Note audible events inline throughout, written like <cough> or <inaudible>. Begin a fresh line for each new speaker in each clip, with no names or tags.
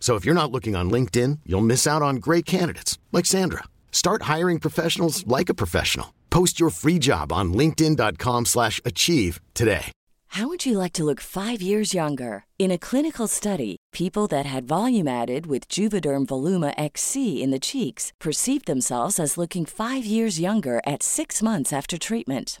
So if you're not looking on LinkedIn, you'll miss out on great candidates like Sandra. Start hiring professionals like a professional. Post your free job on linkedin.com/achieve slash achieve today.
How would you like to look five years younger? In a clinical study, people that had volume added with Juvederm Voluma XC in the cheeks perceived themselves as looking five years younger at six months after treatment.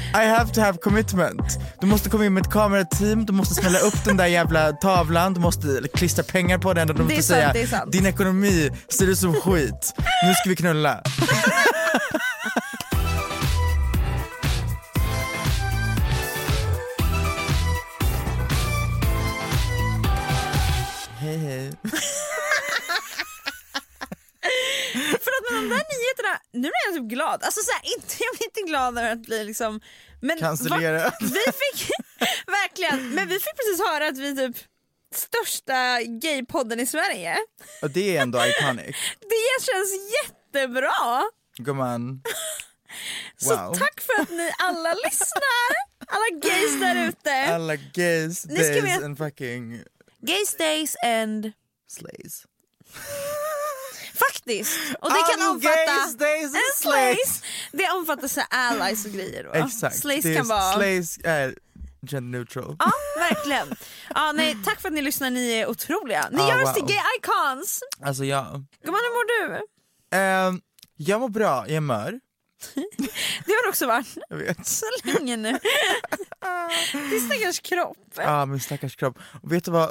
I have to have commitment. Du måste komma in med ett kamerateam, du måste smälla upp den där jävla tavlan, du måste klistra pengar på den och du
Det är
måste
sant,
säga
det är sant.
din ekonomi ser ut <laughs> som skit. Nu ska vi knulla. Hej hej.
För att med de där nyheterna, nu blir jag typ glad. Alltså så här, inte, jag blir inte glad över att bli liksom... Men
Cancellerad.
va- Vi fick, <laughs> verkligen, men vi fick precis höra att vi är typ största gaypodden i Sverige.
Och det är ändå iconic.
Det känns jättebra!
Gumman.
Så
Wow.
tack för att ni
<laughs>
alla lyssnar! Alla gays där ute.
Alla gays,
Ni ska
days
veta-
and fucking
Gays days and...
slays.
Faktiskt! Och det kan
All
omfatta...
gays, days and
en
slays.
slays! Det omfattar så här allies och grejer då.
Exakt.
Slays
det är-
kan vara...
Slays är gender neutral.
Ja, verkligen. Ja, nej, tack för att ni lyssnar, ni är otroliga. Ni
Ja,
gör oss
wow.
till gay icons!
Alltså jag...
Gumman, hur mår du?
Ehm, jag mår bra, jag mör.
Det har du också varit
Jag vet.
så länge nu. Din stackars kropp.
Ja, min stackars kropp. Och vet du vad?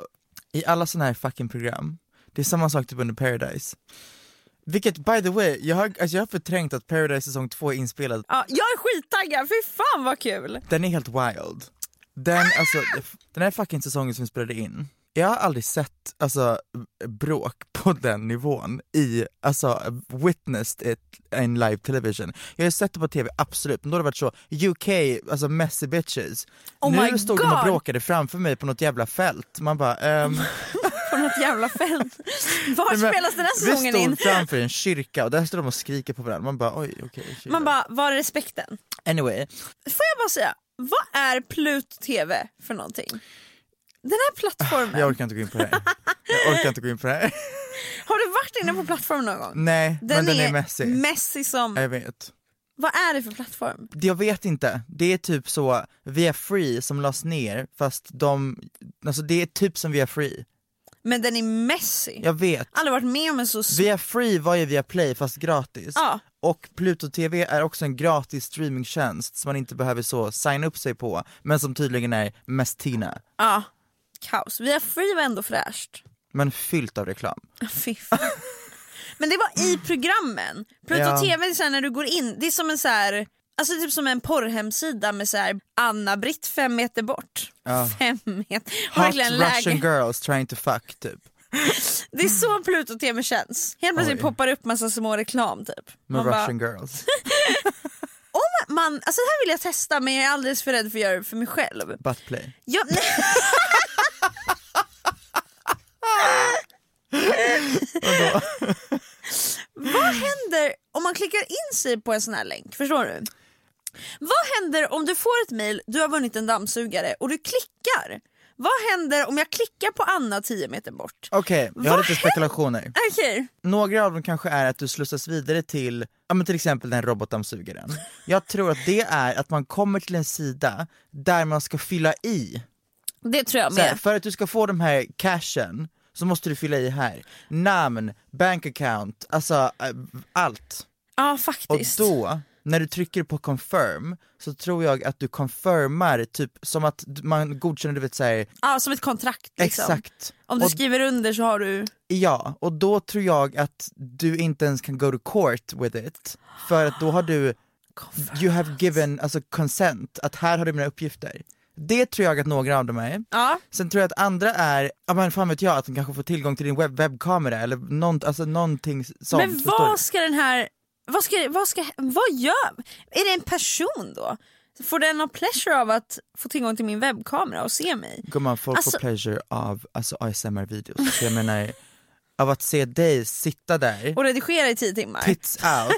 I alla såna här fucking program, det är samma sak typ under Paradise. Vilket by the way, jag har, alltså jag har förträngt att Paradise säsong 2 är inspelad.
Ja, jag är skittaggad, fy fan vad kul!
Den är helt wild. Den, alltså, den här fucking säsongen som vi spelade in, jag har aldrig sett alltså, bråk på den nivån i, alltså witnessed it in live television. Jag har sett det på tv, absolut, men då har det varit så, UK, alltså messy bitches.
Oh
nu
my
stod de
God.
och bråkade framför mig på något jävla fält, man
<laughs>
bara ehm,
På något jävla fält. Var
nej, men
spelas den här
Vi
säsongen
stod
in?
framför en kyrka och där stod de och skriker på varandra, man bara oj okej. Okay,
Man bara, var är respekten?
anyway,
Får jag bara säga, vad är Pluto TV för någonting? Den här plattformen,
jag orkar inte gå in på det här. Jag orkar inte gå in på det här. <laughs>
har du varit inne på plattformen någon gång?
Nej, Mm. men den är, Eh. messy.
messy som...
Jag vet.
Vad är det för plattform?
Det- Jag vet inte. Det är typ så, Via Free som lades ner fast de, alltså det är typ som Via Free.
Men den är messy. Jag
Jag vet.
har aldrig varit med om en så... s-
Via Free var ju via Play fast gratis.
Ja.
Och Pluto TV är också en gratis streamingtjänst som man inte behöver så signa upp sig på men som tydligen är mest Tina.
Ja, kaos. Via Free var ändå fräscht. <laughs>
Men fyllt av reklam.
Fy fan.
<laughs>
Men det var i programmen. Pluto
Ja.
TV, är så här, när du går in, det är som en så här... Alltså typ som en porrhemsida med så här Anna-Britt fem meter bort. Fem meter. Har
Hot
verkligen läge.
Russian girls trying to fuck typ.
Det är så Pluto TV känns. Helt plötsligt
Oj.
poppar det upp massa små reklam typ.
Med
Man bara,
Russian girls.
om man, alltså det här vill jag testa men jag är alldeles för rädd för att göra det för mig själv.
Butt play.
<laughs> Jag, nej. Vad händer om man klickar in sig på en sån här länk? Förstår du? Vad händer om du får ett mejl, du har vunnit en dammsugare och du klickar? Vad händer om jag klickar på Anna 10 meter bort?
Okej, jag har lite spekulationer.
Okej,
Några av dem kanske är att du slussas vidare till, ja men till exempel den robotdammsugaren. Jag tror att det är att man kommer till en sida där man ska fylla i.
det tror jag
Så här,
med.
för att du ska få de här cashen så måste du fylla i här. Namn, bank account, alltså eh, allt.
Ja
Och
faktiskt.
då, när du trycker på confirm, så tror jag att du confirmar, typ som att d- man godkänner, du vet såhär,
Ja, som ett kontrakt liksom.
exakt.
Om du
och,
skriver under så har du...
ja, och då tror jag att du inte ens kan go to court with it, för att då har du, you have given, alltså consent, att här har du mina uppgifter. Det tror jag att några av dem är.
Ja,
Sen tror jag att andra är, ja men fan vet jag, att de kanske får tillgång till din webb- webbkamera eller nånt, alltså någonting sånt.
men
förstår du?
vad ska den här... Vad, ska, vad, ska, vad gör... Är det en person då? Får den någon pleasure av att få tillgång till min webbkamera och se mig?
Gumman, folk
Alltså-
får pleasure av alltså, ASMR-videos. Så Jag menar, av att se dig sitta där,
Och redigera i tio timmar?
tits out,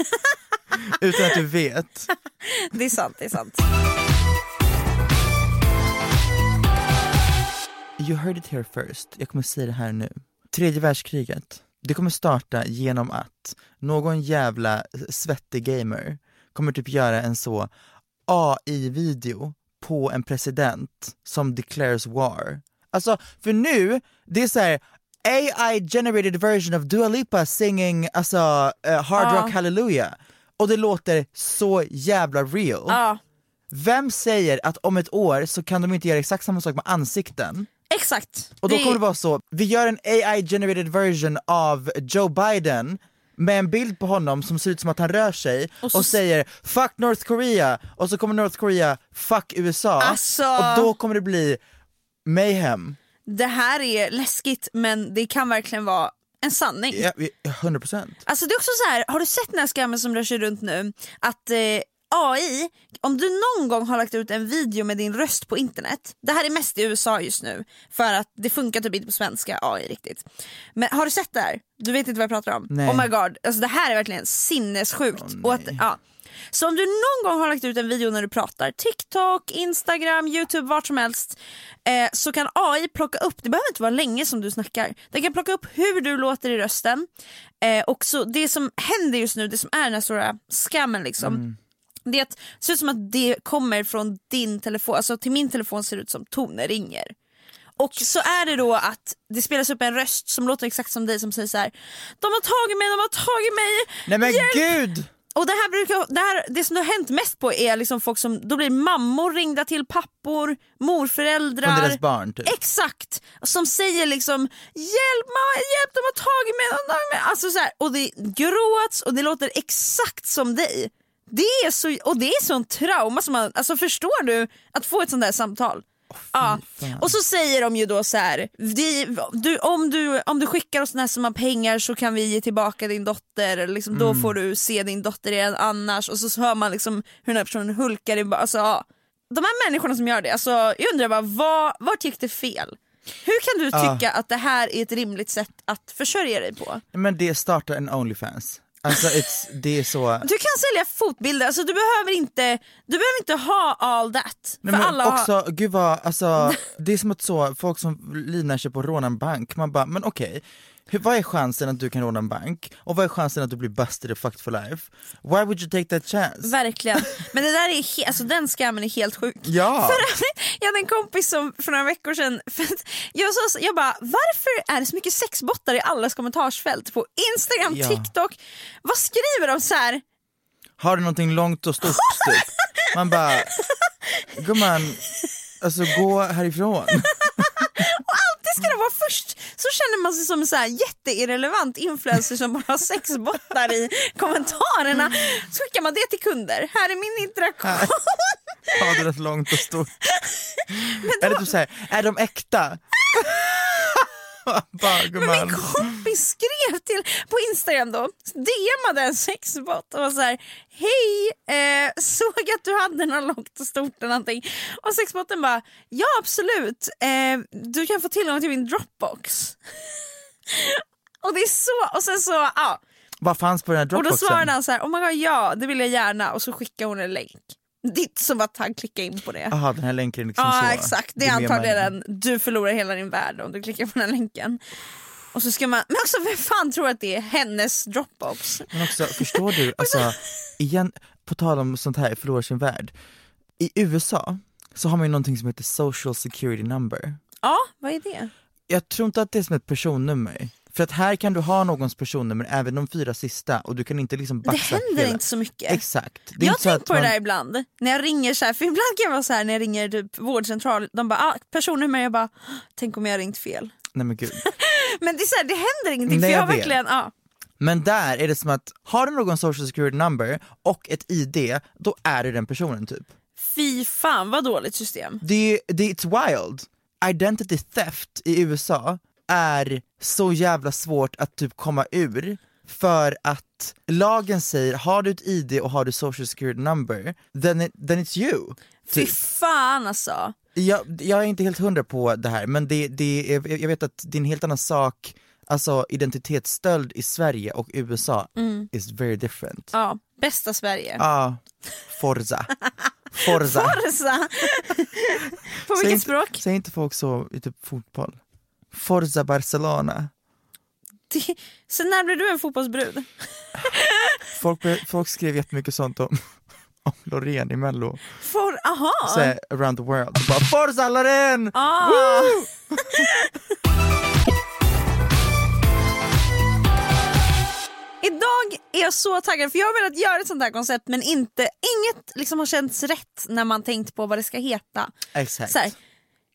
<laughs>
utan att du vet.
Det är sant, det är sant.
You heard it here first, jag kommer säga det här nu. Tredje världskriget, det kommer starta genom att någon jävla svettig gamer kommer typ göra en så AI-video på en president som declares war. Alltså, för nu, det är så här AI generated version of Dua Lipa singing alltså, eh, Hard Rock Hallelujah. Och det låter så jävla real.
Ja,
Vem säger att om ett år så kan de inte göra exakt samma sak med ansikten?
exakt.
Och då kommer det vara så, vi gör en AI generated version av Joe Biden med en bild på honom som ser ut som att han rör sig och,
så-
säger 'fuck North Korea' och så kommer North Korea 'fuck USA'
Alltså-
och då kommer det bli mayhem.
det här är läskigt men det kan verkligen vara en sanning.
Ja, vi- 100%.
Alltså det är också så här, har du sett den här skammen som rör sig runt nu? Att eh, AI, om du någon gång har lagt ut en video med din röst på internet, det här är mest i USA just nu för att det funkar typ inte på svenska AI riktigt. Men har du sett det här? Du vet inte vad jag pratar om?
Nej.
Oh my god, alltså det här är verkligen sinnessjukt. och att, ja. Så om du någon gång har lagt ut en video när du pratar, TikTok, Instagram, Youtube, vart som helst, eh, så kan AI plocka upp, det behöver inte vara länge som du snackar, den kan plocka upp hur du låter i rösten. Eh, och så det som händer just nu, det som är den här stora skammen liksom, det är att, det ser ut som att det kommer från din telefon, alltså till min telefon ser det ut som toner ringer. Och så är det då att det spelas upp en röst som låter exakt som dig som säger så här: De har tagit mig, de har tagit mig!
Nej men
Hjälp!"
gud!
Och det här brukar, det, här, det som det har hänt mest på är liksom folk som, då blir mammor ringda till pappor, morföräldrar.
Från deras barn typ.
Exakt! Som säger liksom hjälp mamma, hjälp de har tagit mig, de har tagit mig. Alltså så här, och det gråts och det låter exakt som dig. Det är så, och det är sån trauma som man, alltså förstår du att få ett sånt där samtal? ja. Och så säger de ju då så här, vi, du, om, du, om du skickar oss den här summan pengar så kan vi ge tillbaka din dotter, eller liksom, då
Mm.
får du se din dotter igen annars. Och så hör man liksom hur den här personen hulkar i ba- alltså, ja. De här människorna som gör det, alltså, jag undrar bara, vad, vart gick det fel? Hur kan du
Ja.
tycka att det här är ett rimligt sätt att försörja dig på?
Men det startar en Onlyfans. Alltså it's, det är så...
Du kan sälja fotbilder, alltså, du, behöver inte, du behöver inte ha all that.
Nej,
för
men
alla har-
också, gud vad, alltså, <laughs> det är som att så, folk som livnär sig på att råna en bank, man bara, men okej, hur- vad är chansen att du kan råna en bank? Och vad är chansen att du blir busted och fucked for life? Why would you take that chance?
Verkligen. Men det där är he- alltså, den skammen är helt sjuk.
Ja.
För att- <laughs> jag hade en kompis som för några veckor sedan, <laughs> för att jag, sa, så- jag bara varför är det så mycket sexbottar i allas kommentarsfält på Instagram,
Ja.
TikTok? Vad skriver de så här?
Har du någonting långt och stort typ? Man bara, gumman, alltså gå härifrån.
<laughs> Alltid ska de vara först! Så känner man sig som en så här jätteirrelevant influencer som bara har sexbottar i kommentarerna. Så skickar man det till kunder. Här är min interaktion.
Har det långt och stort? Eller typ såhär, är de
<laughs>
äkta? <laughs>
<laughs>
Bara,
Men
gumman.
min kompis skrev till på Instagram då, DMade en sexbot och var så här Hej, eh, såg att du hade något långt och stort eller någonting. Och sexboten bara, ja absolut, eh, du kan få tillgång till min Dropbox. <laughs> och det är så, och sen så, ja.
Vad fanns på den här
Och då
dropboxen?
svarade han så här, oh my god ja, det vill jag gärna. Och så skickade hon en länk. <laughs> Ditt som att han klickade in på det.
Jaha, den här länken är liksom så.
Ja exakt, det är
med
antagligen
mig.
den du förlorar hela din värld om du klickar på den här länken. Och så ska man, men också vem fan tror att det är hennes Dropbox?
Men också,
<laughs>
förstår du, alltså, igen, på tal om sånt här, förlorar sin värld. I USA så har man ju någonting som heter social security number.
Ja, vad är det?
Jag tror inte att det är som ett personnummer. För att här kan du ha någons personnummer, även de fyra sista, och du kan inte liksom
Det
baxa
händer
hela-
inte så mycket.
Exakt.
jag
Det är
har
inte så
tänkt
att
på det
man-
där ibland, när jag ringer så här, för ibland kan jag vara så här när jag ringer typ vårdcentral, de bara ah, personnummer, jag bara tänk om jag har ringt fel.
Nej men gud.
Men det, är så här, det händer ingenting
Nej,
för jag,
jag
har
vet.
verkligen, ja.
Men där är det som att, har du någon social security number och ett ID, då är du den personen typ.
fy fan vad dåligt system.
Det, det, it's wild. Identity theft i USA är så jävla svårt att typ komma ur för att lagen säger har du ett ID och har du social security number, then, it, then it's you.
Fy
Typ.
fan alltså.
Jag, jag är inte helt hundra på det här men det, det är, jag vet att det är en helt annan sak, alltså identitetsstöld i Sverige och USA is very different. Mm. Ja,
Ja, bästa Sverige. <laughs>
Forza. <laughs> Forza.
Forza. På
Säg
vilket
inte-
språk?
Säger inte folk så i typ fotboll? Forza Barcelona.
Det- Så när blev du en fotbollsbrud?
Folk, be- folk skrev jättemycket sånt om, <laughs> om Loreen i mello,
For, aha.
så här, around the world. Bara, Forza Loreen!
Ah. <laughs> Idag är jag så taggad för jag har velat göra ett sånt här koncept men inte, inget liksom har känts rätt när man tänkt på vad det ska heta.
Exakt.
Så här,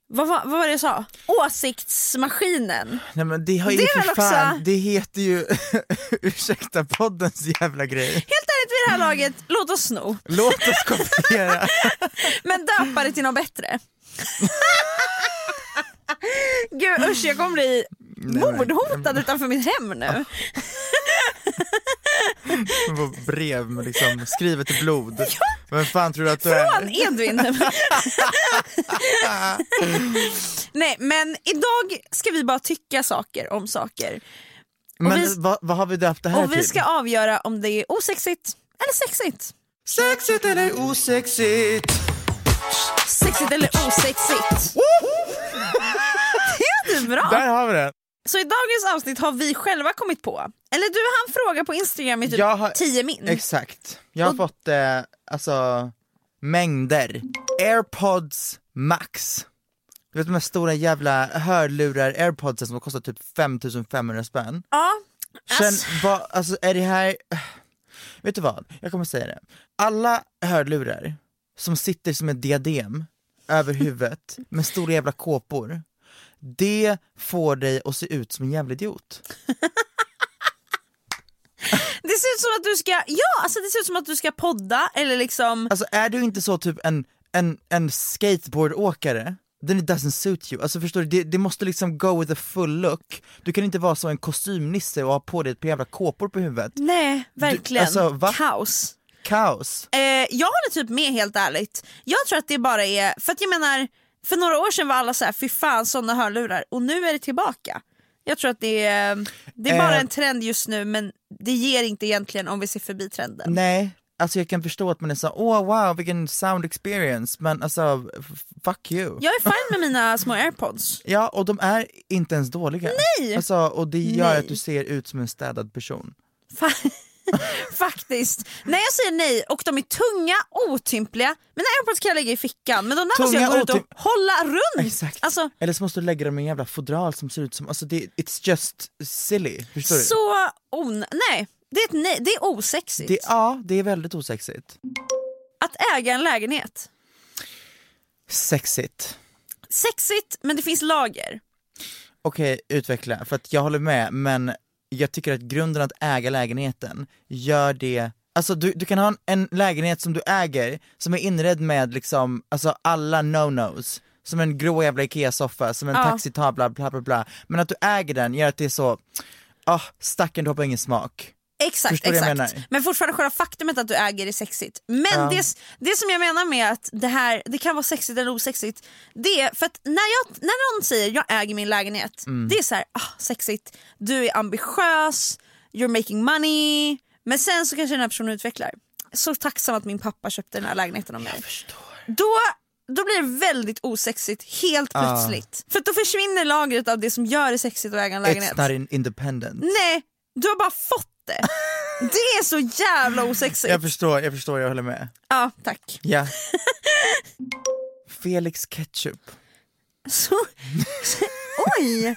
vad, var- vad var det jag sa? Åsiktsmaskinen.
Nej men det har ju
Det är
för
väl också-
fan, det heter ju <laughs> ursäkta poddens jävla grej.
Helt ärligt vid det här laget, låt oss sno.
Låt oss kopiera. <laughs>
Men döpa det till något bättre. Gud usch jag kommer bli
men-
mordhotad utanför mitt hem
Ah,
nu.
Vår brev med liksom skrivet i
<laughs>
blod. Vem fan tror du att du
Från
är? <laughs>
Edvin. Nej men idag ska vi bara tycka saker om saker.
Men
vi-
vad, vad har vi döpt det här
Och vi
till?
ska avgöra om det är osexigt eller sexigt.
Sexigt eller osexigt?
Sexigt eller osexigt. Det är inte bra.
Där har vi det.
Så i dagens avsnitt har vi själva kommit på. Eller du han fråga på Instagram i typ
Jag har-
10 min.
Exakt. Jag har fått eh, alltså mängder. Airpods max. Du vet de här stora jävla hörlurar airpodsen som kostar typ 5500 spänn.
ja.
Sen vad, alltså är det här, <sighs> vet du vad, jag kommer säga det. Alla hörlurar som sitter som ett diadem över huvudet med stora jävla kåpor, det får dig att se ut som en jävla idiot.
Det ser ut som att du ska, ja alltså det ser ut som att du ska podda eller liksom
Alltså är du inte så typ en, en, en skateboardåkare, then it doesn't suit you. Alltså förstår du, det, det måste liksom go with the full look. Du kan inte vara så en kostymnisse och ha på dig ett par jävla kåpor på huvudet.
Nej verkligen,
alltså, va?
kaos.
Kaos!
Eh, jag håller typ med helt ärligt. Jag tror att det bara är, för att jag menar för några år sedan var alla så här, fy fan sådana hörlurar och nu är det tillbaka. Jag tror att det är, det är bara
Eh.
en trend just nu men det ger inte egentligen om vi ser förbi trenden.
Nej, alltså jag kan förstå att man är så åh wow vilken sound experience, men alltså f- fuck you.
Jag är fine med mina små airpods.
Ja, och de är inte ens dåliga. Nej! Alltså, och det gör
Nej.
att du ser ut som en städad person.
Fa- <laughs> Faktiskt. Nej jag säger nej och de är tunga, otympliga. Mina airpods kan jag lägga i fickan men de där måste
Tunga,
jag gå ut och
otym-
hålla runt.
Exakt.
Alltså,
Eller så måste du lägga dem i en jävla fodral som ser ut som, alltså det, it's just silly. Förstår du?
så on... Nej, det är, ett nej. Det är osexigt.
Det, ja, det är väldigt osexigt.
Att äga en lägenhet.
Sexigt.
Sexigt men det finns lager.
okej, utveckla, för att jag håller med, men jag tycker att grunden att äga lägenheten gör det Alltså du, du kan ha en, en lägenhet som du äger, som är inredd med liksom, alltså alla no-nos, som en grå jävla IKEA-soffa, som en
Ja.
taxitavla, bla bla bla, men att du äger den gör att det är så, ah, stackarn du har på ingen smak.
Exakt,
Förstår du vad
exakt.
jag menar?
Men fortfarande själva faktumet att du äger är sexigt. Men det, det som jag menar med att det här det kan vara sexigt eller osexigt, det är för att när, jag, när någon säger jag äger min lägenhet,
Mm.
det är så här, ah, sexigt, du är ambitiös, you're making money, men sen så kanske den här personen utvecklar. Så tacksam att min pappa köpte den här lägenheten av mig. Då, då blir det väldigt osexigt helt plötsligt. För att då försvinner lagret av det som gör det sexigt att äga en lägenhet.
It's not in- independent.
Nej, du har bara fått det. Det är så jävla
Jag
osexigt.
förstår, jag förstår, jag håller med.
Ja, tack. <laughs>
Ja. Felix Ketchup.
Så, oj!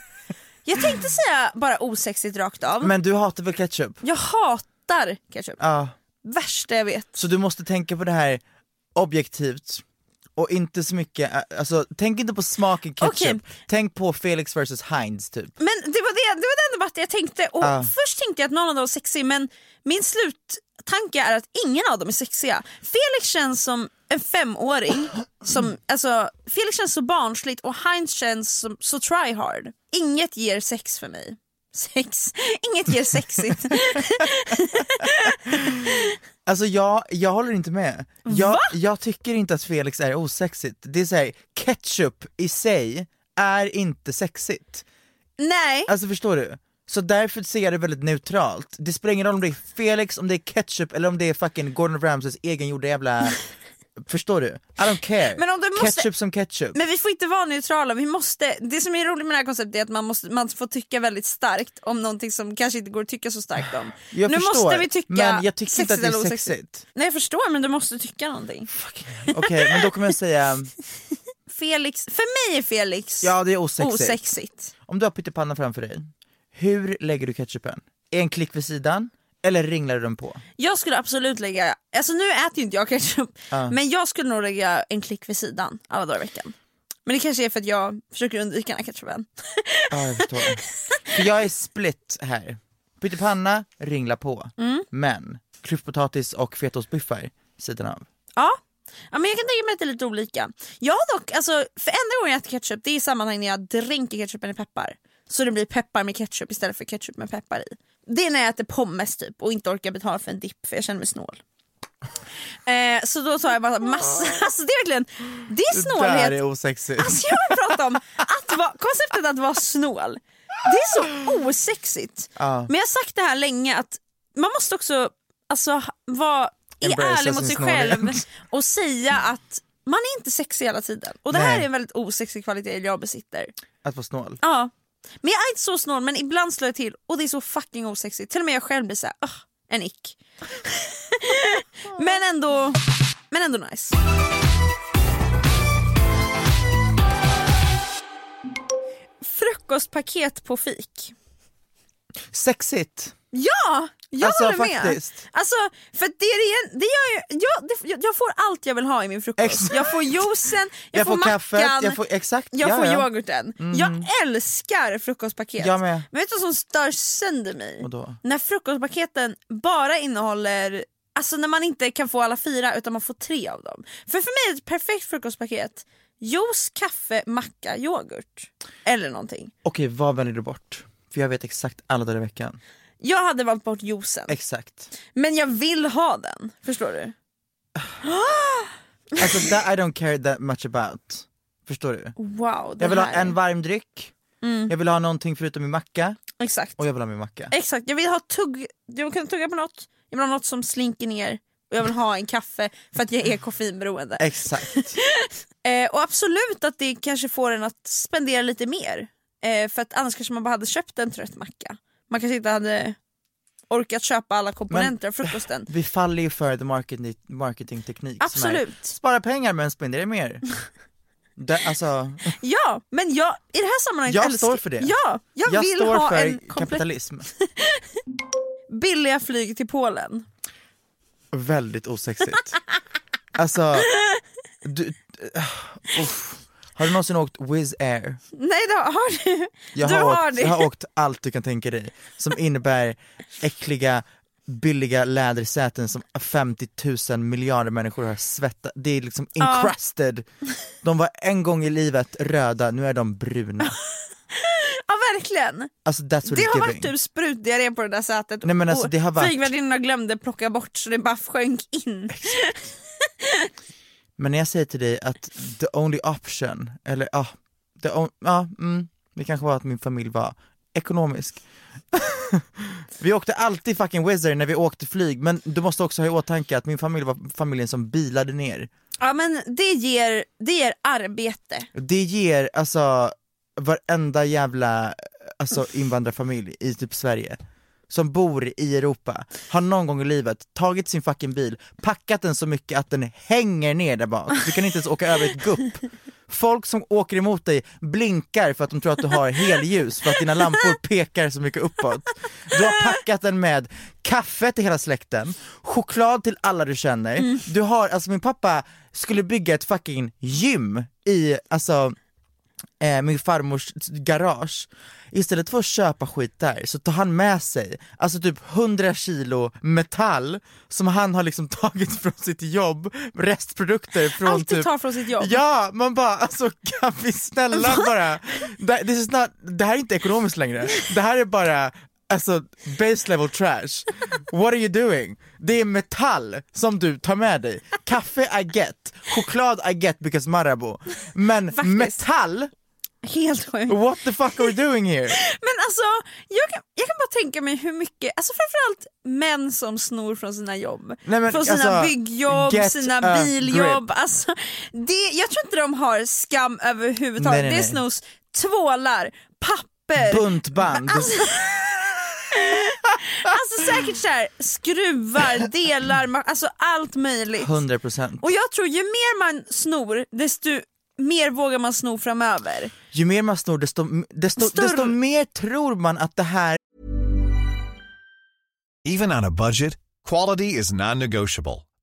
Jag tänkte säga bara osexigt rakt av.
Men du hatar väl ketchup?
Jag hatar ketchup.
Ja.
Värsta jag vet.
Så du måste tänka på det här objektivt och inte så mycket, ä- alltså tänk inte på smaken ketchup,
Okej.
tänk på Felix versus Heinz typ.
Men det var, det, det var den debatten jag tänkte. Och Först tänkte jag att någon av dem var sexig men min sluttanke är att ingen av dem är sexiga. Felix känns som en femåring. Som, alltså, Felix känns så barnsligt och Heinz känns som, så try hard. Inget ger sex för mig. Sex. Inget ger
<laughs>
sexigt.
Alltså jag, jag håller inte med. Jag, jag tycker inte att Felix är osexigt, det är såhär, ketchup i sig är inte sexigt.
Nej.
Alltså förstår du? Så därför ser jag det väldigt neutralt, det spelar ingen roll om det är Felix, om det är ketchup eller om det är fucking Gordon Ramsays
<laughs>
egengjorda jävla... förstår du? I don't care.
Men om du måste-
Ketchup som ketchup.
Men vi får inte vara neutrala. Vi måste, det som är roligt med det här konceptet är att man, måste, man får tycka väldigt starkt om någonting som kanske inte går att tycka så starkt om.
Jag
nu
förstår,
måste vi tycka
men jag tycker
sexigt
inte att det är
eller osexigt.
sexigt.
Nej jag förstår men du måste tycka någonting.
Okej, men då kommer jag säga,
Felix, för mig är Felix
ja det är osexigt.
osexigt.
Om du har pyttipanna framför dig, hur lägger du ketchupen? Är en klick vid sidan, eller ringlar du den på?
Jag skulle absolut lägga, alltså nu äter ju inte jag ketchup, men jag skulle nog lägga en klick vid sidan alla dagar i veckan. Men det kanske är för att jag försöker undvika den här ketchupen.
Ja, jag förstår. För jag är split här. Pyttipanna, ringla på.
Mm.
Men, klyftpotatis och fetaostbiffar, sidan av.
Ja. ja, men jag kan tänka mig att det är lite olika. Jag har dock, alltså, för enda gången jag äter ketchup det är i sammanhang när jag dränker ketchupen i peppar. Så det blir peppar med ketchup istället för ketchup med peppar i. Det är när jag äter pommes typ och inte orkar betala för en dipp för jag känner mig snål. Eh, så då tar jag bara <laughs> massa, alltså det är verkligen, det är snålhet.
osexigt.
<laughs> Alltså jag vill prata om att vara, konceptet att vara snål. Det är så osexigt. Men jag har sagt det här länge att man måste också alltså, ha- vara är
Embracea
ärlig mot sig
sin
själv
snålhet.
och säga att man är inte sexig hela tiden. Och det här
Nej.
är en väldigt osexig kvalitet jag besitter.
Att vara snål.
Ja. Men jag är inte så snål men ibland slår jag till och det är så fucking osexigt. Till och med jag själv blir såhär, "Ugh, en
<laughs>
ick. men, ändå, men ändå nice. Frukostpaket på fik.
Sexigt!
Ja, jag
Alltså,
håller med.
faktiskt.
Alltså, för det är det, det gör ju, jag, det, jag, jag får allt jag vill ha i min frukost.
Exakt.
Jag får juicen, jag,
Jag, får,
mackan,
kaffet, jag får, exakt,
jag
ja,
får
ja. Mm.
yoghurten. Jag älskar frukostpaket.
Jag med.
Men vet du vad som stör sönder mig?
Vadå?
När frukostpaketen bara innehåller Alltså när man inte kan få alla fyra utan man får tre av dem. För för mig är ett perfekt frukostpaket juice, kaffe, macka, yoghurt. Eller någonting.
Okej, vad väljer du bort? För jag vet exakt alla dagar i veckan.
Jag hade valt bort juicen.
Exakt.
Men jag vill ha den. Förstår du? <gasps>
Alltså that I don't care that much about. Förstår du?
Wow. det
Jag vill ha
här- Mm.
en varm dryck, jag vill ha någonting förutom min macka
Exakt.
och jag vill ha min macka.
Exakt, jag vill ha tugg, jag kan tugga på något, jag vill ha något som slinker ner och jag vill ha en kaffe för att jag är koffeinberoende.
Exakt.
Eh, och absolut att det kanske får en att spendera lite mer. Eh, för att annars kanske man bara hade köpt en trött macka. Man kanske inte hade orkat köpa alla komponenter av frukosten.
<laughs> Vi faller ju för the market, marketingteknik som
Absolut.
är spara pengar men spendera mer. Det, alltså,
Ja, men jag, i det här sammanhanget
jag
älskar-
står för det.
Ja, <laughs> jag,
jag
vill
står
ha
för
en komplett <laughs>
kapitalism.
billiga flyg till Polen.
Väldigt osexigt. alltså, du, <sighs> uff. Har du någonsin åkt Wizz Air?
Nej, det har, har du?
Jag
du
har,
har
åkt,
det.
jag har åkt allt du kan tänka dig som innebär äckliga, billiga lädersäten som 50 000 miljarder människor har svettat. Det är liksom encrusted. De var en gång i livet röda, nu är de bruna.
Ja, verkligen.
Alltså that's what
Det
it's
har varit
giving.
typ sprutdiarré på det där sätet.
Nej, men alltså,
Och
det har varit-
Flygvärdinnorna glömde plocka bort så det bara sjönk in.
Men när jag säger till dig att the only option, eller ja, the on- ja mm, det kanske var att min familj var ekonomisk. <laughs> vi åkte alltid fucking Wizz Air när vi åkte flyg, men du måste också ha i åtanke att min familj var familjen som bilade ner.
Ja, men det ger, det ger arbete.
Det ger alltså varenda jävla alltså, invandrarfamilj i typ Sverige som bor i Europa har någon gång i livet tagit sin fucking bil, packat den så mycket att den hänger ner där bak. Du kan inte ens åka över ett gupp. Folk som åker emot dig blinkar för att de tror att
<laughs>
du har helljus för att dina lampor pekar så mycket uppåt. Du har packat den med kaffe till hela släkten, choklad till alla du känner.
Mm.
Du har, alltså min pappa skulle bygga ett fucking gym i, alltså eh, min farmors garage, istället för att köpa skit där så tar han med sig, alltså typ 100 kilo metall som han har liksom <laughs> tagit från sitt jobb, restprodukter från
Allt du
typ
tar från sitt jobb.
Ja, man bara alltså kan vi snälla bara, That- this is not, det här är inte ekonomiskt längre, det här är bara alltså base level trash. What are you doing? Det är metall som du tar med dig. Kaffe I get, choklad I get because Marabou. Men metall?
Helt sjukt.
What the fuck are we doing here?
Men alltså, jag kan, jag kan bara tänka mig hur mycket, alltså framförallt män som snor från sina jobb.
Nej, men
från sina
alltså,
byggjobb,
get
sina
a
biljobb. Alltså, det, jag tror inte de har skam överhuvudtaget.
Nej, nej,
det
nej.
snos tvålar, papper,
Buntband.
<laughs> alltså säkert så här, skruvar, delar, ma- alltså allt möjligt.
100%.
Och jag tror ju mer man snor desto mer vågar man sno framöver.
Ju mer man snor desto, desto,
Större-
desto mer tror man att det här
Even on a budget, quality is non-negotiable.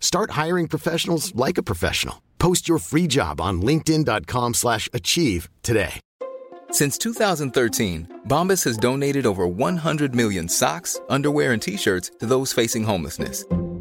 Start hiring professionals like a professional. Post your free job on linkedin.com/achieve slash achieve today.
Since 2013, Bombas has donated over 100 million socks, underwear, and t shirts to those facing homelessness.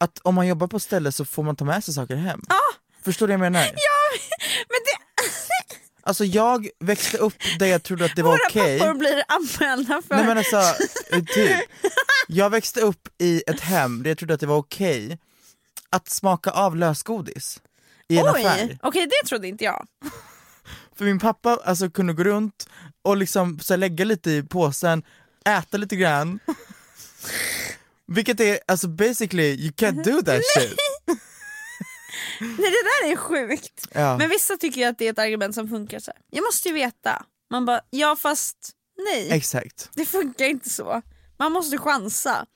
att om man jobbar på ett ställe så får man ta med sig saker hem.
Ah.
Förstår du
<laughs>
vad jag menar?
Men det,
Alltså jag växte upp där jag trodde att det var
våra
okej.
pappor blir anmälda för.
Nej men alltså, eh, typ. Jag växte upp i ett hem där jag trodde att det var okej att smaka av lösgodis i en
Oj,
affär.
okej det trodde inte jag.
För min pappa alltså, kunde gå runt och liksom så här, lägga lite i påsen, äta
<laughs>
lite grann. Vilket är, alltså basically you
Mm-hmm.
can't do that shit.
<laughs> Nej det där är sjukt.
Ja.
Men vissa tycker ju att det är ett argument som funkar så här. Jag måste ju veta. Man bara, ja fast nej.
Exakt.
Det funkar inte så. Man måste chansa.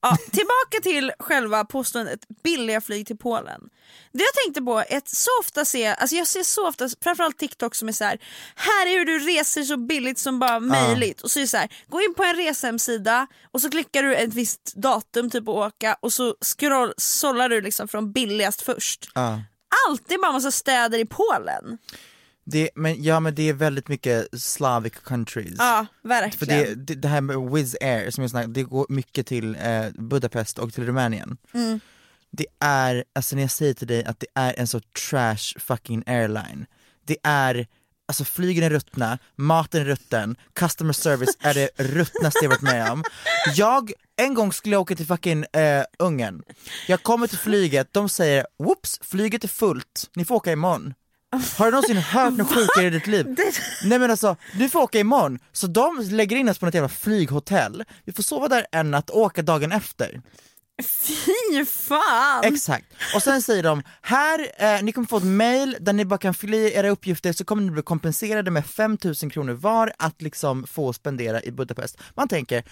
Ja, tillbaka till själva påståendet billiga flyg till Polen. Det jag tänkte på är att så ofta ser, alltså jag ser så ofta, framförallt TikTok som är så här, här är hur du reser så billigt som bara möjligt. Och så är det så här, gå in på en resehemsida och så klickar du ett visst datum typ att åka och så scroll, sållar du liksom från billigast först.
Ja.
Alltid bara massa städer i Polen.
Det, men, ja men det är väldigt mycket Slavic countries.
Ja,
För
verkligen.
det, det, det här med Wizz Air som jag snackade, det går mycket till eh, Budapest och till Rumänien.
Mm.
Det är, alltså när jag säger till dig att det är en så trash fucking airline. Det är, alltså flygen är ruttna, maten är rutten, customer service
<laughs>
är det ruttnaste jag varit med om. Jag, en gång skulle jag åka till fucking eh, Ungern. Jag kommer till flyget, de säger whoops, flyget är fullt, ni får åka imorgon. Har du någonsin hört något sjukare i ditt liv? Nej men alltså, du får åka imorgon. Så de lägger in oss på något jävla flyghotell, vi får sova där en natt och åka dagen efter.
Fy fan!
Exakt. Och sen säger de, här, eh, ni kommer få ett mail där ni bara kan fylla i era uppgifter så kommer ni bli kompenserade med 5000 kronor var att liksom få spendera i Budapest. Man tänker,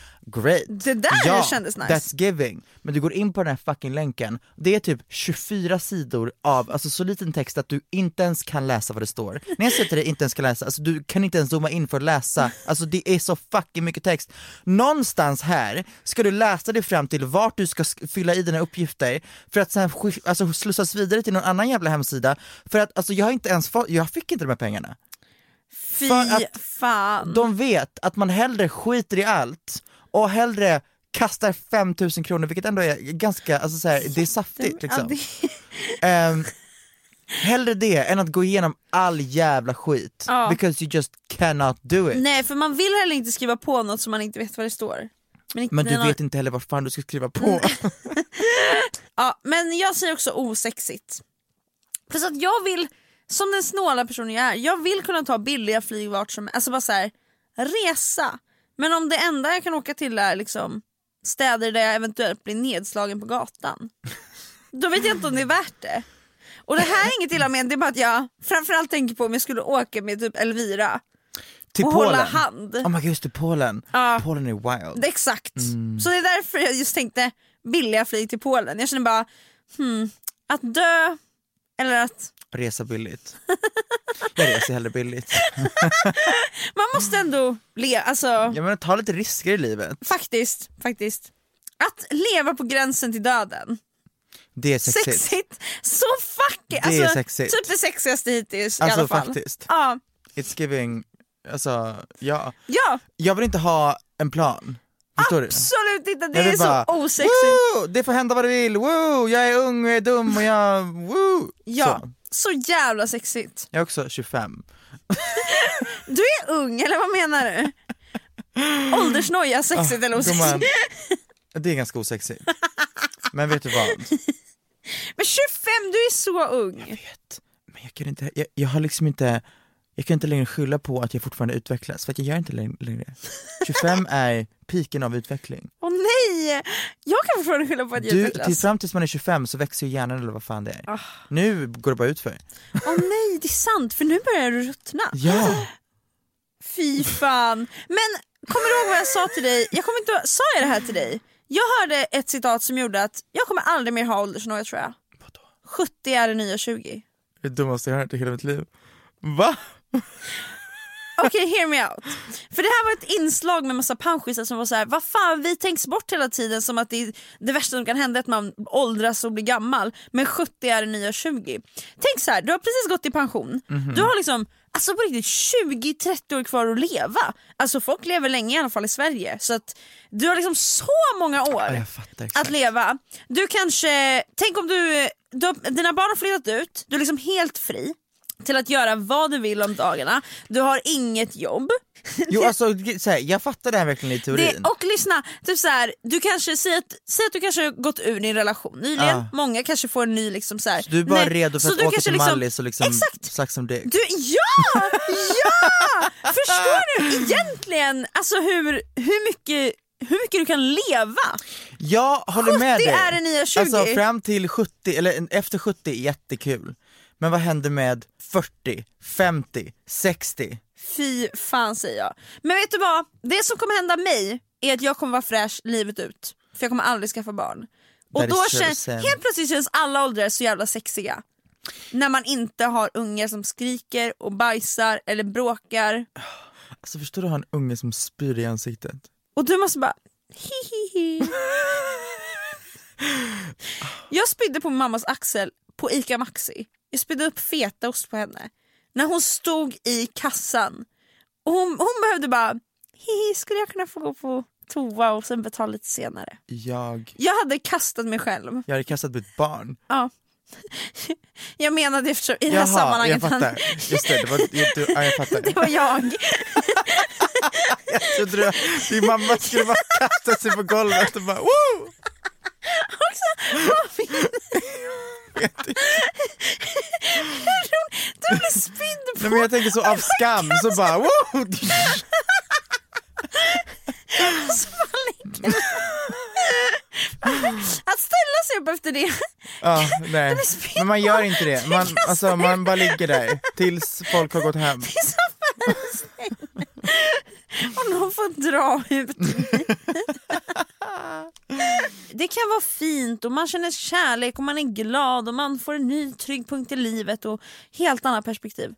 great.
Det där
ja,
kändes nice.
that's giving. Men du går in på den här fucking länken, det är typ 24 sidor av, alltså så liten text att du inte ens kan läsa vad det står. När jag säger till dig inte ens kan läsa, alltså du kan inte ens zooma in för att läsa, alltså det är så fucking mycket text. Någonstans här ska du läsa dig fram till vart du ska sk- fylla i dina uppgifter för att sen sk- alltså, slussas vidare till någon annan jävla hemsida. För att alltså jag har inte ens fått, jag fick inte de här pengarna.
Fy
För att
fan.
De vet att man hellre skiter i allt och hellre kastar 5000 kronor, vilket ändå är ganska, alltså så här, det är saftigt
Ja,
liksom.
det-
Um, hellre det än att gå igenom all jävla skit,
Ja.
because you just cannot do it.
Nej för man vill heller inte skriva på något som man inte vet vad det står. Men, inte-
Men du
den har-
vet inte heller vart fan du ska skriva på.
Ja, men jag säger också osexigt. Plus att jag vill, som den snåla personen jag är, jag vill kunna ta billiga flyg vart som Alltså bara så här, resa. Men om det enda jag kan åka till är liksom städer där jag eventuellt blir nedslagen på gatan. <laughs> Då vet jag inte om det är värt det. Och det här är inget illa men det är bara att jag framförallt tänker på om jag skulle åka med typ Elvira.
<laughs> till
Och
Polen.
hålla hand.
Oh my god, just det, Polen.
Ja.
Polen är wild.
Det- Exakt.
Mm.
Så det är därför jag just tänkte billiga flyg till Polen. Jag känner bara, hmm, att dö eller att
Resa billigt. Jag reser
<laughs>
hellre billigt.
man måste ändå leva, alltså
Jag menar, ta lite risker i livet.
faktiskt, faktiskt. Att leva på gränsen till döden.
Det är sexigt.
Sexigt. Så fucking,
Det är
alltså
sexigt.
typ det sexigaste hittills i
Alltså,
alla fall.
faktiskt.
Ja,
It's giving, alltså ja.
ja
Jag vill inte ha en plan. Förstår du?
absolut inte, det
Jag vill
är så
bara,
osexigt.
Woo, det får hända vad det vill, woo, jag är ung och jag är dum och jag, woo.
Ja,
Så.
så jävla sexigt.
Jag är också 25.
Du är ung eller vad menar
<laughs>
du? Åldersnoja,
Ah,
sexigt eller osexigt?
Gumman, det är ganska osexigt. Men vet du vad?
Men 25, du är så ung!
vet, men jag kan inte, jag, jag har liksom inte, jag kan inte längre skylla på att jag fortfarande utvecklas, för att jag gör inte läng- längre.
<laughs>
25 är piken av utveckling.
Åh nej! Jag kan fortfarande skylla på att jag
Du,
utvecklas. Ah.
till, fram tills man är 25 så växer ju hjärnan eller vad fan det är. Nu går det bara ut för.
Åh nej, det är sant för nu börjar du ruttna.
Ja,
Fy fan. Men kommer du ihåg vad jag sa till dig? Jag kommer inte Sa jag det här till dig? Jag hörde ett citat som gjorde att jag kommer aldrig mer ha åldersnoja tror jag. 70 är det nya 20.
det dummaste jag har hört i hela mitt liv.
<laughs>
Va?
Okej, hear me out. För det här var ett inslag med massa panschisar som var så här: vad fan vi tänks bort hela tiden som att det, är det värsta som kan hända är att man åldras och blir gammal. Men 70 är det nya 20. Tänk så här, du har precis gått i pension.
Mhm.
Du har liksom alltså på riktigt 20-30 år kvar att leva. Alltså folk lever länge i alla fall i Sverige. Så att du har liksom så många år
jag fattar
att
exakt.
leva. Du kanske, tänk om du, du har- dina barn har flyttat ut, du är liksom helt fri till att göra vad du vill om dagarna, du har inget jobb.
Jo alltså så här, jag fattar det här verkligen i
Det,
teorin.
och lyssna, typ så här, du kanske, säg att, säg att du kanske har gått ur din relation nyligen,
Ja.
många kanske får en ny liksom så här.
Du är bara
nej,
redo för
så
att
du
åka
kanske
till
liksom-
Mallis och liksom
Exakt!
slags om dick.
Du, ja! Ja! Förstår du egentligen alltså hur, hur, mycket, hur mycket du kan leva?
Jag håller med
70
dig.
är det nya 20.
Alltså fram till 70, eller efter 70 är jättekul. Men vad händer med 40, 50, 60?
Fy fan säger jag. Men vet du vad? Det som kommer hända mig är att jag kommer vara fräsch livet ut. för jag kommer aldrig skaffa barn. Och
That is
då
so
känns,
sad.
helt plötsligt känns alla åldrar så jävla sexiga. När man inte har ungar som skriker och bajsar eller bråkar.
Alltså förstår du att ha en unge som spyr i ansiktet?
Och du måste bara
<laughs>
hihihi. Jag spydde på min mammas axel på ICA Maxi. Jag spydde upp fetaost på henne. När hon stod i kassan. Och hon, hon behövde bara hihi, skulle jag kunna få gå på toa och sen betala lite senare.
Jag,
Jag hade kastat mig själv.
jag hade kastat mitt barn.
Ja. Jag menade eftersom i det här sammanhanget
jag fattar. Just det, det var, du, ja, jag fattar.
<laughs> det var jag.
Jag trodde du, din mamma skulle bara kasta sig på golvet och bara woo!
Du blev spydd på. Alltså,
Nej men jag tänker så av skam
<laughs>
så bara woo!
Så man ligger där. Att ställa sig upp efter det.
Ja, nej. Men man gör inte det. Man,
kastar
alltså, man bara ligger där tills folk har gått hem.
i soffan och någon får dra ut Det kan vara fint och man känner kärlek och man är glad och man får en ny trygg punkt i livet och helt annat perspektiv.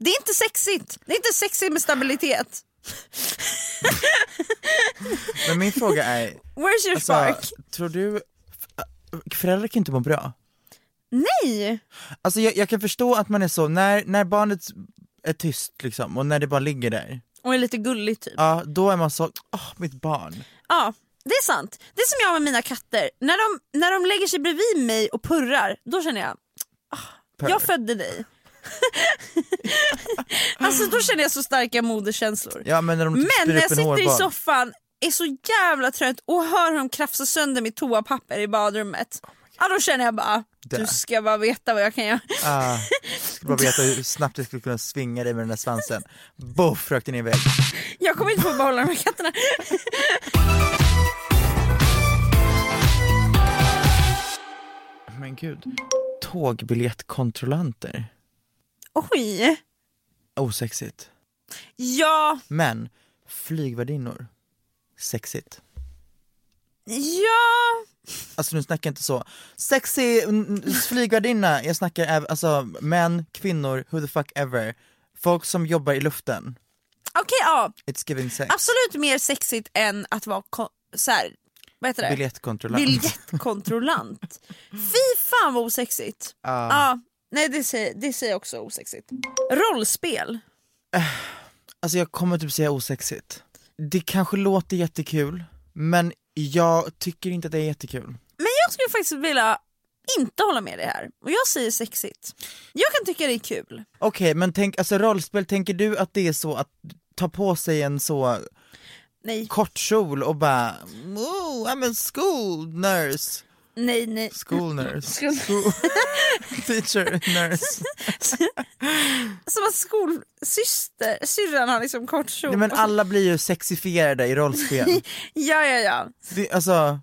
Det är inte sexigt. Det är inte sexigt med stabilitet.
Men min fråga är,
Where's your
alltså,
spark?
tror du, föräldrar kan inte må bra?
Nej!
Alltså jag, jag kan förstå att man är så, när, när barnet är tyst liksom och när det bara ligger där,
Och är lite gullig typ.
ja då är man så, åh mitt barn.
Ja, det är sant. Det är som jag med mina katter. När de, när de lägger sig bredvid mig och purrar, då känner jag "Ah,
Purr.
Jag födde dig. <laughs> alltså då känner jag så starka moderskänslor.
Ja men när de typ
Men
spyr
när
upp
jag
en
sitter i
hårboll.
soffan, är så jävla trött och hör hur de krafsar sönder mitt toapapper i badrummet.
Oh
ja, då känner jag bara,
Där.
du ska bara veta vad jag kan göra.
Ah, skulle bara veta hur snabbt jag skulle kunna svinga dig med den där svansen. Boff rökte ni iväg.
Jag kommer inte få behålla de här katterna. <laughs>
Men gud. Tågbiljettkontrollanter.
Oj!
Osexigt.
Ja,
Men flygvärdinnor. Sexigt.
ja,
Alltså nu snackar jag inte så. Sexy n- n- flygvärdinna. Jag snackar äv- alltså män, kvinnor, who the fuck ever. Folk som jobbar i luften.
okej ja.
It's giving sex.
Absolut mer sexigt än att vara ko- så här, vad heter det?
Biljettkontrollant.
Biljettkontrollant. Fy fan vad osexigt. Ja. nej det säger, det säger jag också osexigt. Rollspel.
Alltså jag kommer typ säga osexigt. Det kanske låter jättekul, men jag tycker inte att det är jättekul.
Men jag skulle faktiskt vilja inte hålla med det här. Och jag säger sexigt. Jag kan tycka det är kul.
Okej, men tänk, alltså rollspel, tänker du att det är så att ta på sig en så
Nej,
kort kjol och bara oh, I'm a school nurse,
nej, nej.
school nurse,
Skol-
school <laughs> teacher nurse.
Som att skolsyster, syrran har liksom kort kjol.
Nej men
Och så-
alla blir ju sexifierade
<laughs>
i rollspel.
Ja, ja, ja.
Det, alltså,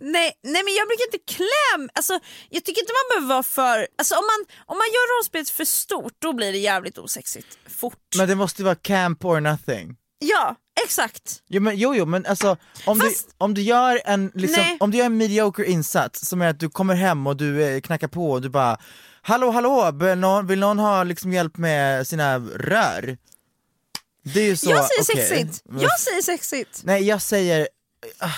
Nej, nej men jag brukar inte kläm. Alltså, jag tycker inte man behöver vara för... Alltså, om, man, om man gör rollspelet för stort då blir det jävligt osexigt fort.
men det måste ju vara camp or nothing.
Ja, exakt.
Jo men, jo, jo, men alltså om,
Fast-
du, om du gör en liksom,
Nej.
om du gör en mediocre insats som är att du kommer hem och du eh, knackar på och du bara Hallå hallå, vill någon, vill någon ha liksom hjälp med sina rör? Det är ju så,
jag säger
okej.
sexigt.
Men-
Jag säger sexigt.
Nej jag säger ah,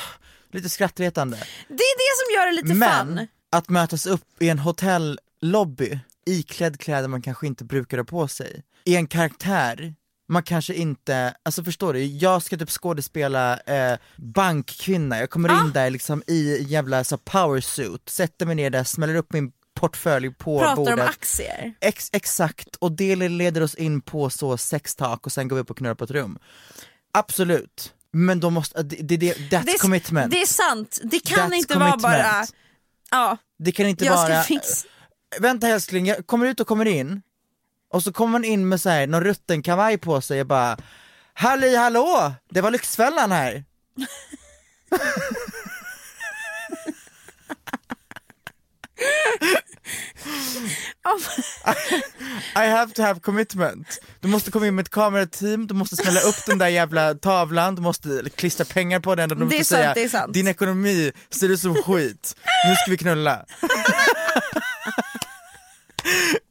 lite skrattretande,
Det är det som gör det lite
men
fun.
att mötas upp i en hotellobby iklädd kläder man kanske inte brukar ha på sig, i en karaktär man kanske inte, alltså förstår du, jag ska typ skådespela eh, bankkvinna, jag kommer
Ah!
in där liksom i en jävla så power suit, sätter mig ner där, smäller upp min portfölj på
Pratar
bordet.
om aktier.
Ex- exakt, och det leder oss in på så sextak och sen går vi upp och knullar på ett rum. Absolut, men då måste, det, det, det, that's
Det är,
commitment.
det är sant. Det kan
That's
inte vara
commitment.
bara... Ja,
Det kan inte
jag ska
vara,
fixa...
vänta älskling, jag kommer ut och kommer in, och så kommer man in med så här, någon rutten kavaj på sig och bara Halli hallå, det var Lyxfällan här.
Ja, <laughs>
I have to have commitment. Du måste komma in med ett kamerateam, du måste snälla upp den där jävla tavlan, du måste klistra pengar på den och du
Det är
måste
sant,
säga
det är sant.
din ekonomi ser ut som skit, nu ska vi knulla. <laughs>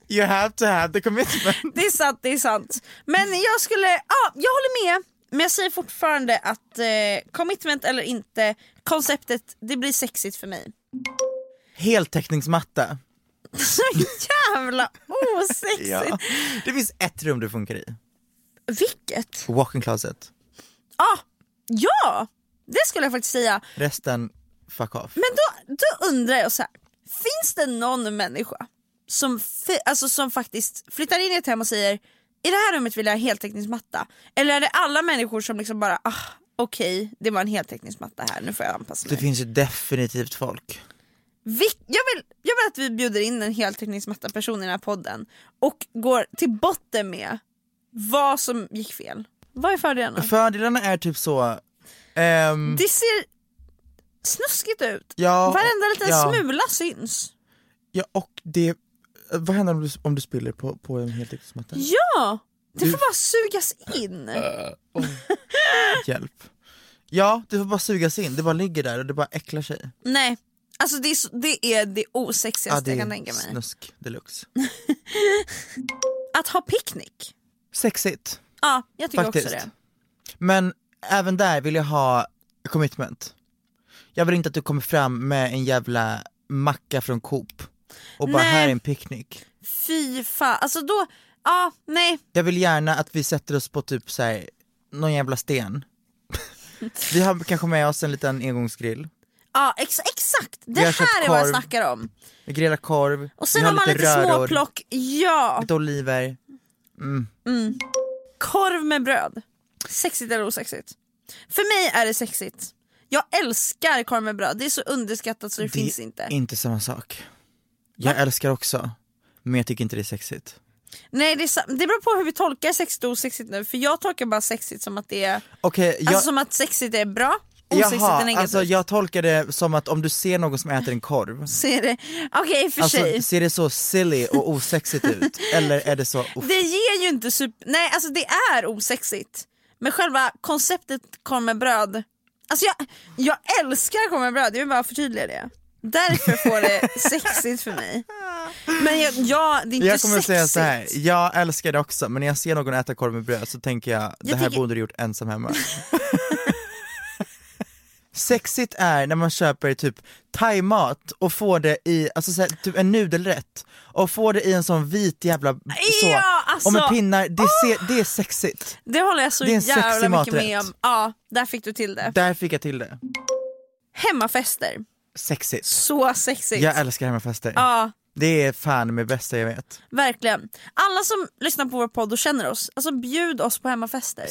You have to have the commitment.
Det är sant, det är sant. Men jag skulle, ja jag håller med. Men jag säger fortfarande att eh, commitment eller inte, konceptet det blir sexigt för mig. <laughs>
Heltäckningsmatta.
Så jävla osexigt!
Ja. Det finns ett rum du funkar i,
Vilket?
walk-in closet.
Ah, ja, det skulle jag faktiskt säga.
Resten, fuck off.
Men då, då undrar jag så här. finns det någon människa som, fi- alltså som faktiskt flyttar in i ett hem och säger i det här rummet vill jag ha heltäckningsmatta? Eller är det alla människor som liksom bara, ah, okej, det var en heltäckningsmatta här, nu får jag anpassa
Det
mig.
finns ju definitivt folk.
Vi, jag, vill, jag vill att vi bjuder in en heltäckningsmatta person i den här podden och går till botten med vad som gick fel. Vad är fördelarna?
Fördelarna är typ så... ehm,
Det ser snuskigt ut.
Ja,
Varenda liten
ja.
smula syns.
Ja och det, vad händer om du, om du spiller på, på en heltäckningsmatta?
Ja! Det får bara sugas in.
Äh. Hjälp. Ja, det får bara sugas in, det bara ligger där och det bara äcklar sig.
Nej, alltså det är, så- det, är det osexigaste
det
jag kan
är
tänka mig. Mm.
snusk deluxe.
Att ha picknick.
Sexigt,
Ja, jag tycker
faktiskt.
också det.
Men även där vill jag ha commitment. Jag vill inte att du kommer fram med en jävla macka från Coop och bara
Nej.
här är en picknick.
Fy fan, alltså då, ja, nej.
Jag vill gärna att vi sätter oss på typ så här, någon
<laughs>
jävla sten. vi har kanske med oss en liten engångsgrill.
Ja, ex, exakt, det
Vi har köpt
här är vad jag
korv.
snackar om.
Vi grillar korv,
Och sen
vi
har man lite
röror,
småplock, ja.
lite oliver.
Korv med bröd. Sexigt eller osexigt? För mig är det sexigt. Jag älskar korv med bröd, det är så underskattat så det, finns inte.
är inte samma sak. Jag älskar också, men jag tycker inte det är sexigt.
Nej det, är, sa- det beror på hur vi tolkar sexigt och osexigt nu, för jag tolkar bara sexigt som att det är
Okej, jag...
Alltså som att sexigt är bra, osexigt är
Jaha,
negativt.
alltså jag tolkar det som att om du ser någon som äter en
<laughs>
korv,
Så är det, okej i och för sig.
alltså, ser det så silly och osexigt ut? Eller är det så, uff,
Det ger ju inte super... Nej alltså det är osexigt. Men själva konceptet korv med bröd, alltså jag, jag älskar korv med bröd, jag vill bara förtydliga det. Därför får
<laughs>
det sexigt för mig. Men jag, ja, det är inte
jag kommer
sexigt.
säga så här. jag älskar det också men när jag ser någon äta korv med bröd så tänker jag, det här
tycker-
borde du gjort
<laughs>
ensam hemma. Sexigt är när man köper typ thaimat och får det i, alltså så här, typ en nudelrätt och får det i en sån vit jävla så,
Ja,
och med
alltså.
pinnar, det, ser, det är sexigt.
Det håller jag så
Det är en sexig
jävla mycket med
maträtt.
om. Ja, där fick du till det.
Där fick jag till det.
Hemmafester,
Sexigt.
så sexigt.
Jag älskar hemmafester.
ja.
Det är fan med bästa jag vet.
Verkligen. Alla som lyssnar på vår podd och känner oss, alltså bjud oss på hemmafester.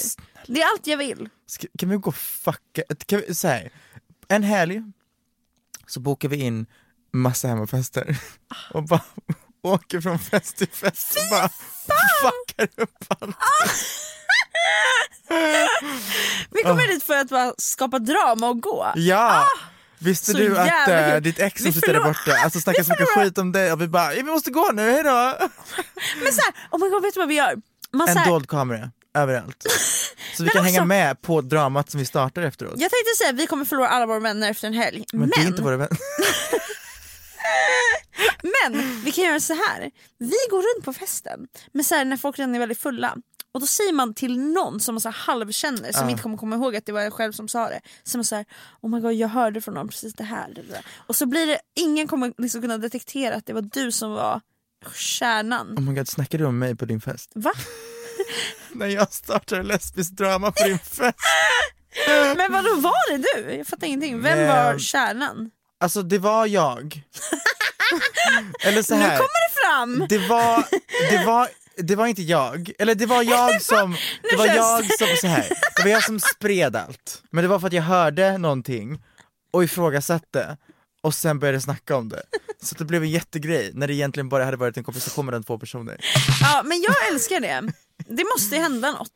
Det är allt jag vill.
Ska, kan vi gå och fucka, kan vi, så här, en helg så bokar vi in massa hemmafester
Ah.
och bara <laughs> åker från fest till fest och bara fuckar upp allt.
Ah, Vi kommer dit för att bara skapa drama och gå.
Ah. Ja!
ah!
Visste
så
du att
jävla
eh,
kul.
ditt ex
Vi
som sitter där
förlor-
borta, alltså snackar
Vi
så mycket
förlorar-
skit om dig och vi bara "Ja, vi måste gå nu, hejdå!
Men så här, oh my god, vet du vad vi gör? Man så
En
här,
dold kamera överallt. Så vi
Men alltså-
kan hänga
också-
med på dramat som vi startar efteråt.
jag tänkte säga att vi kommer förlora alla våra vänner efter en helg. Men,
Men det är
men,
inte våra vänner.
vi kan göra så här. Vi går runt på festen, men så här, när folk redan är väldigt fulla. Och då säger man till någon som man så här halvkänner, som inte kommer komma ihåg att det var jag själv som sa det. Så man så här, oh my god jag hörde från någon precis det här. det där." Och så blir det, ingen kommer liksom kunna detektera att det var du som var kärnan.
<laughs> Oh my god, snackar du om mig på
<laughs>
din fest?
Va?
När jag startar lesbiskt drama på
<laughs>
din fest?
Men vadå var det du? Jag fattar ingenting. Vem
Nej.
var kärnan?
Alltså det
<laughs>
var jag. Eller så
Nu
här.
kommer det fram!
det var, det var, det var inte jag. Eller det
<laughs>
var jag som, det var
känns-
jag som, så här. det var jag som spred allt. Men det var för att jag hörde någonting och ifrågasatte och sen började snacka om det. Så att det blev en jättegrej när det egentligen bara hade varit en konversation mellan två personer.
Ja, men jag älskar det. Det måste ju hända något.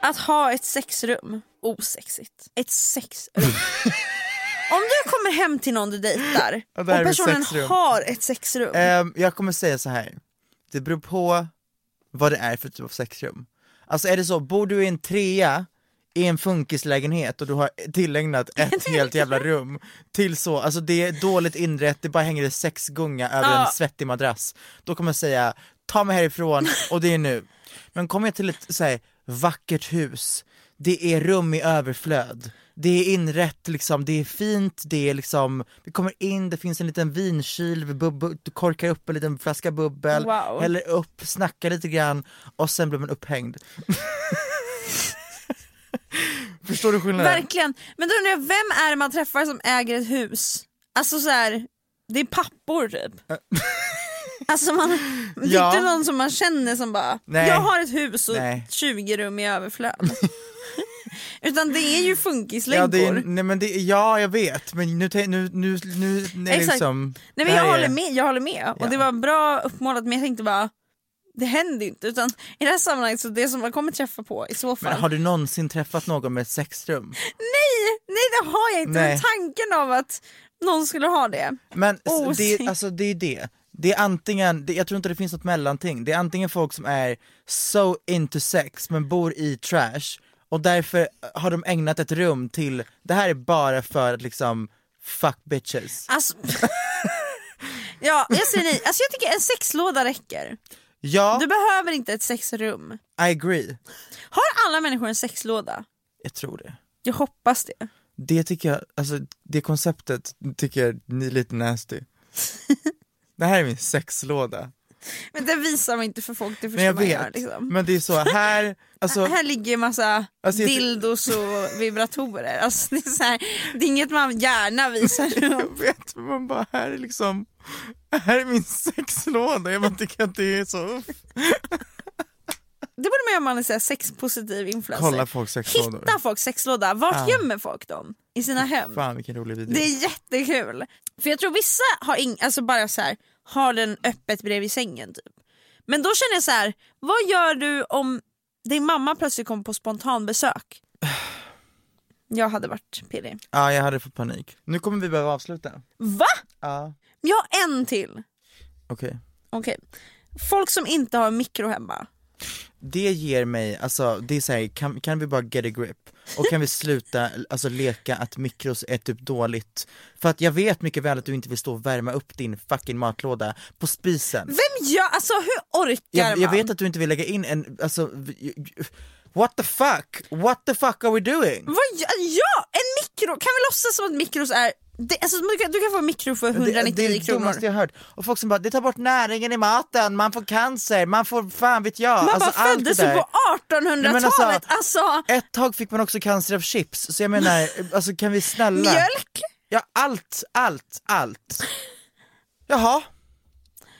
Att
<laughs>
ha ett sexrum, osexigt. Ett sexrum. Om du kommer kommer hem till någon du dejtar
Och
och,
där är det
personen
sexrum.
har ett sexrum.
Ehm, jag kommer säga så här. det beror på vad det är för typ av sexrum. Alltså är det så, bor du i en trea i en funkislägenhet och du har
<laughs>
tillägnat ett helt jävla rum till så, alltså det är dåligt inrett, det bara hänger en sexgunga över en
Ja.
svettig madrass. Då kommer jag säga, ta
<laughs>
mig härifrån och det är nu. Men kommer jag till ett så här, vackert hus, det är rum i överflöd, det är inrett liksom, det är fint, det är liksom, vi kommer in, det finns en liten vinkyl, vi bub- du korkar upp en liten flaska bubbel,
Wow.
häller upp, snackar lite grann och sen blir man upphängd. Förstår du skillnaden?
Verkligen. Men då undrar jag, vem är det man träffar som äger ett hus? Alltså så här, det är pappor typ.
<laughs>
alltså man, det är
Ja.
inte någon som man känner som bara,
Nej.
jag har ett hus och
Nej.
20 rum i
<laughs>
överflöd. <laughs> Utan det är ju funkislänkor.
Ja, det är, nej, men det, ja, jag vet, men nu, tän- nu, nu, nu är det
Exakt. Nej
liksom... det
men jag
här är-
håller med, jag håller med.
Ja.
Och det var bra uppmålat men jag tänkte bara, det händer ju inte. Utan i det här sammanhanget så det som man kommer träffa på i så fall.
Men har du någonsin träffat någon med ett sexrum?
Nej, nej det har jag inte.
Nej.
Men tanken av att någon skulle ha det.
Men s-
Oh,
det,
shit.
alltså, det är det. Det är antingen, det, jag tror inte det finns något mellanting, det är antingen folk som är so into sex men bor i trash och därför har de ägnat ett rum till, det här är bara för att liksom fuck bitches.
Alltså... <laughs> ja, jag säger nej. Alltså, jag tycker en sexlåda räcker.
Ja,
Du behöver inte ett sexrum.
I agree.
Har alla människor en sexlåda?
Jag tror det.
Jag hoppas det.
Det tycker jag, alltså det konceptet tycker jag ni är
<laughs>
lite nasty. det här är min sexlåda.
Men det visar man inte för folk, det
Men
förstår
jag
man
vet,
gör, liksom.
men det är så här, alltså
Här ligger en massa
Alltså, jag-
dildos och vibratorer. Alltså, det, är så här, det är inget man gärna
<laughs>
visar upp.
<laughs> Jag vet, men man bara, här är liksom, här är min sexlåda. Jag bara tycker att det är så... uff.
Det borde man göra om man är så här sexpositiv influencer.
Kolla folks sexlådor.
Alltså, Hitta folks sexlåda. Vart
Ah.
gömmer folk dem? I sina hem?
Fan vilken rolig video.
Det är jättekul. För jag tror vissa har ing- alltså bara så här, har den öppet bredvid sängen. Typ. Men då känner jag så här, vad gör du om din mamma plötsligt kommer på spontanbesök? <sighs> Jag hade varit pirrig.
Ja, jag hade fått panik. Nu kommer vi behöva avsluta.
Va?
Ja,
Jag har en till.
okej.
Okej. Folk som inte har en mikro hemma.
Det ger mig, alltså det är såhär, kan, kan vi bara get a grip? Och kan vi sluta alltså, leka att mikros är typ dåligt? För att jag vet mycket väl att du inte vill stå och värma upp din fucking matlåda på spisen.
Vem gör, alltså hur orkar
Jag, jag
man?
vet att du inte vill lägga in en, alltså, v- what the fuck? What the fuck are we doing?
Vad gör, ja, en mikro! Kan vi låtsas som att mikros är... Det, alltså, du, kan, du kan få en mikro för
Det,
199
det är det
kronor.
dummaste jag hört. Och folk som bara, det tar bort näringen i maten, man får cancer, man får fan vet jag.
Man
Alltså,
bara
allt
föddes
det
ju
där.
på 1800-talet!
Nej, men
alltså,
Ett tag fick man också cancer av chips, så
<laughs>
jag menar, alltså kan vi snälla?
mjölk!
Ja, allt, allt, allt. Jaha,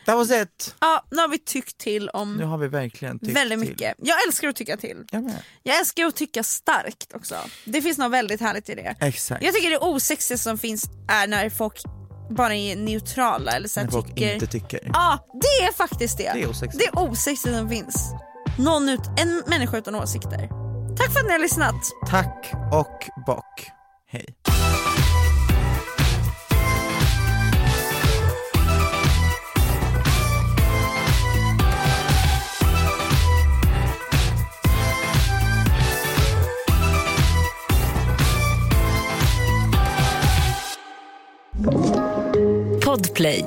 that was it.
Ja, nu har vi tyckt till
Nu
om
har vi verkligen tyckt
väldigt
till.
mycket. Jag älskar att tycka till.
Jag med.
Jag älskar att tycka starkt också. Det finns något väldigt härligt i det.
Exakt.
Jag tycker det osexiga som finns är när folk bara är neutrala eller så här
När folk
tycker...
inte tycker.
Ja, det är faktiskt det.
Det är osexigt.
Det är osexigt som finns. Någon ut, en människa utan åsikter. Tack för att ni har lyssnat.
Tack och bock. Hej.
Podplay.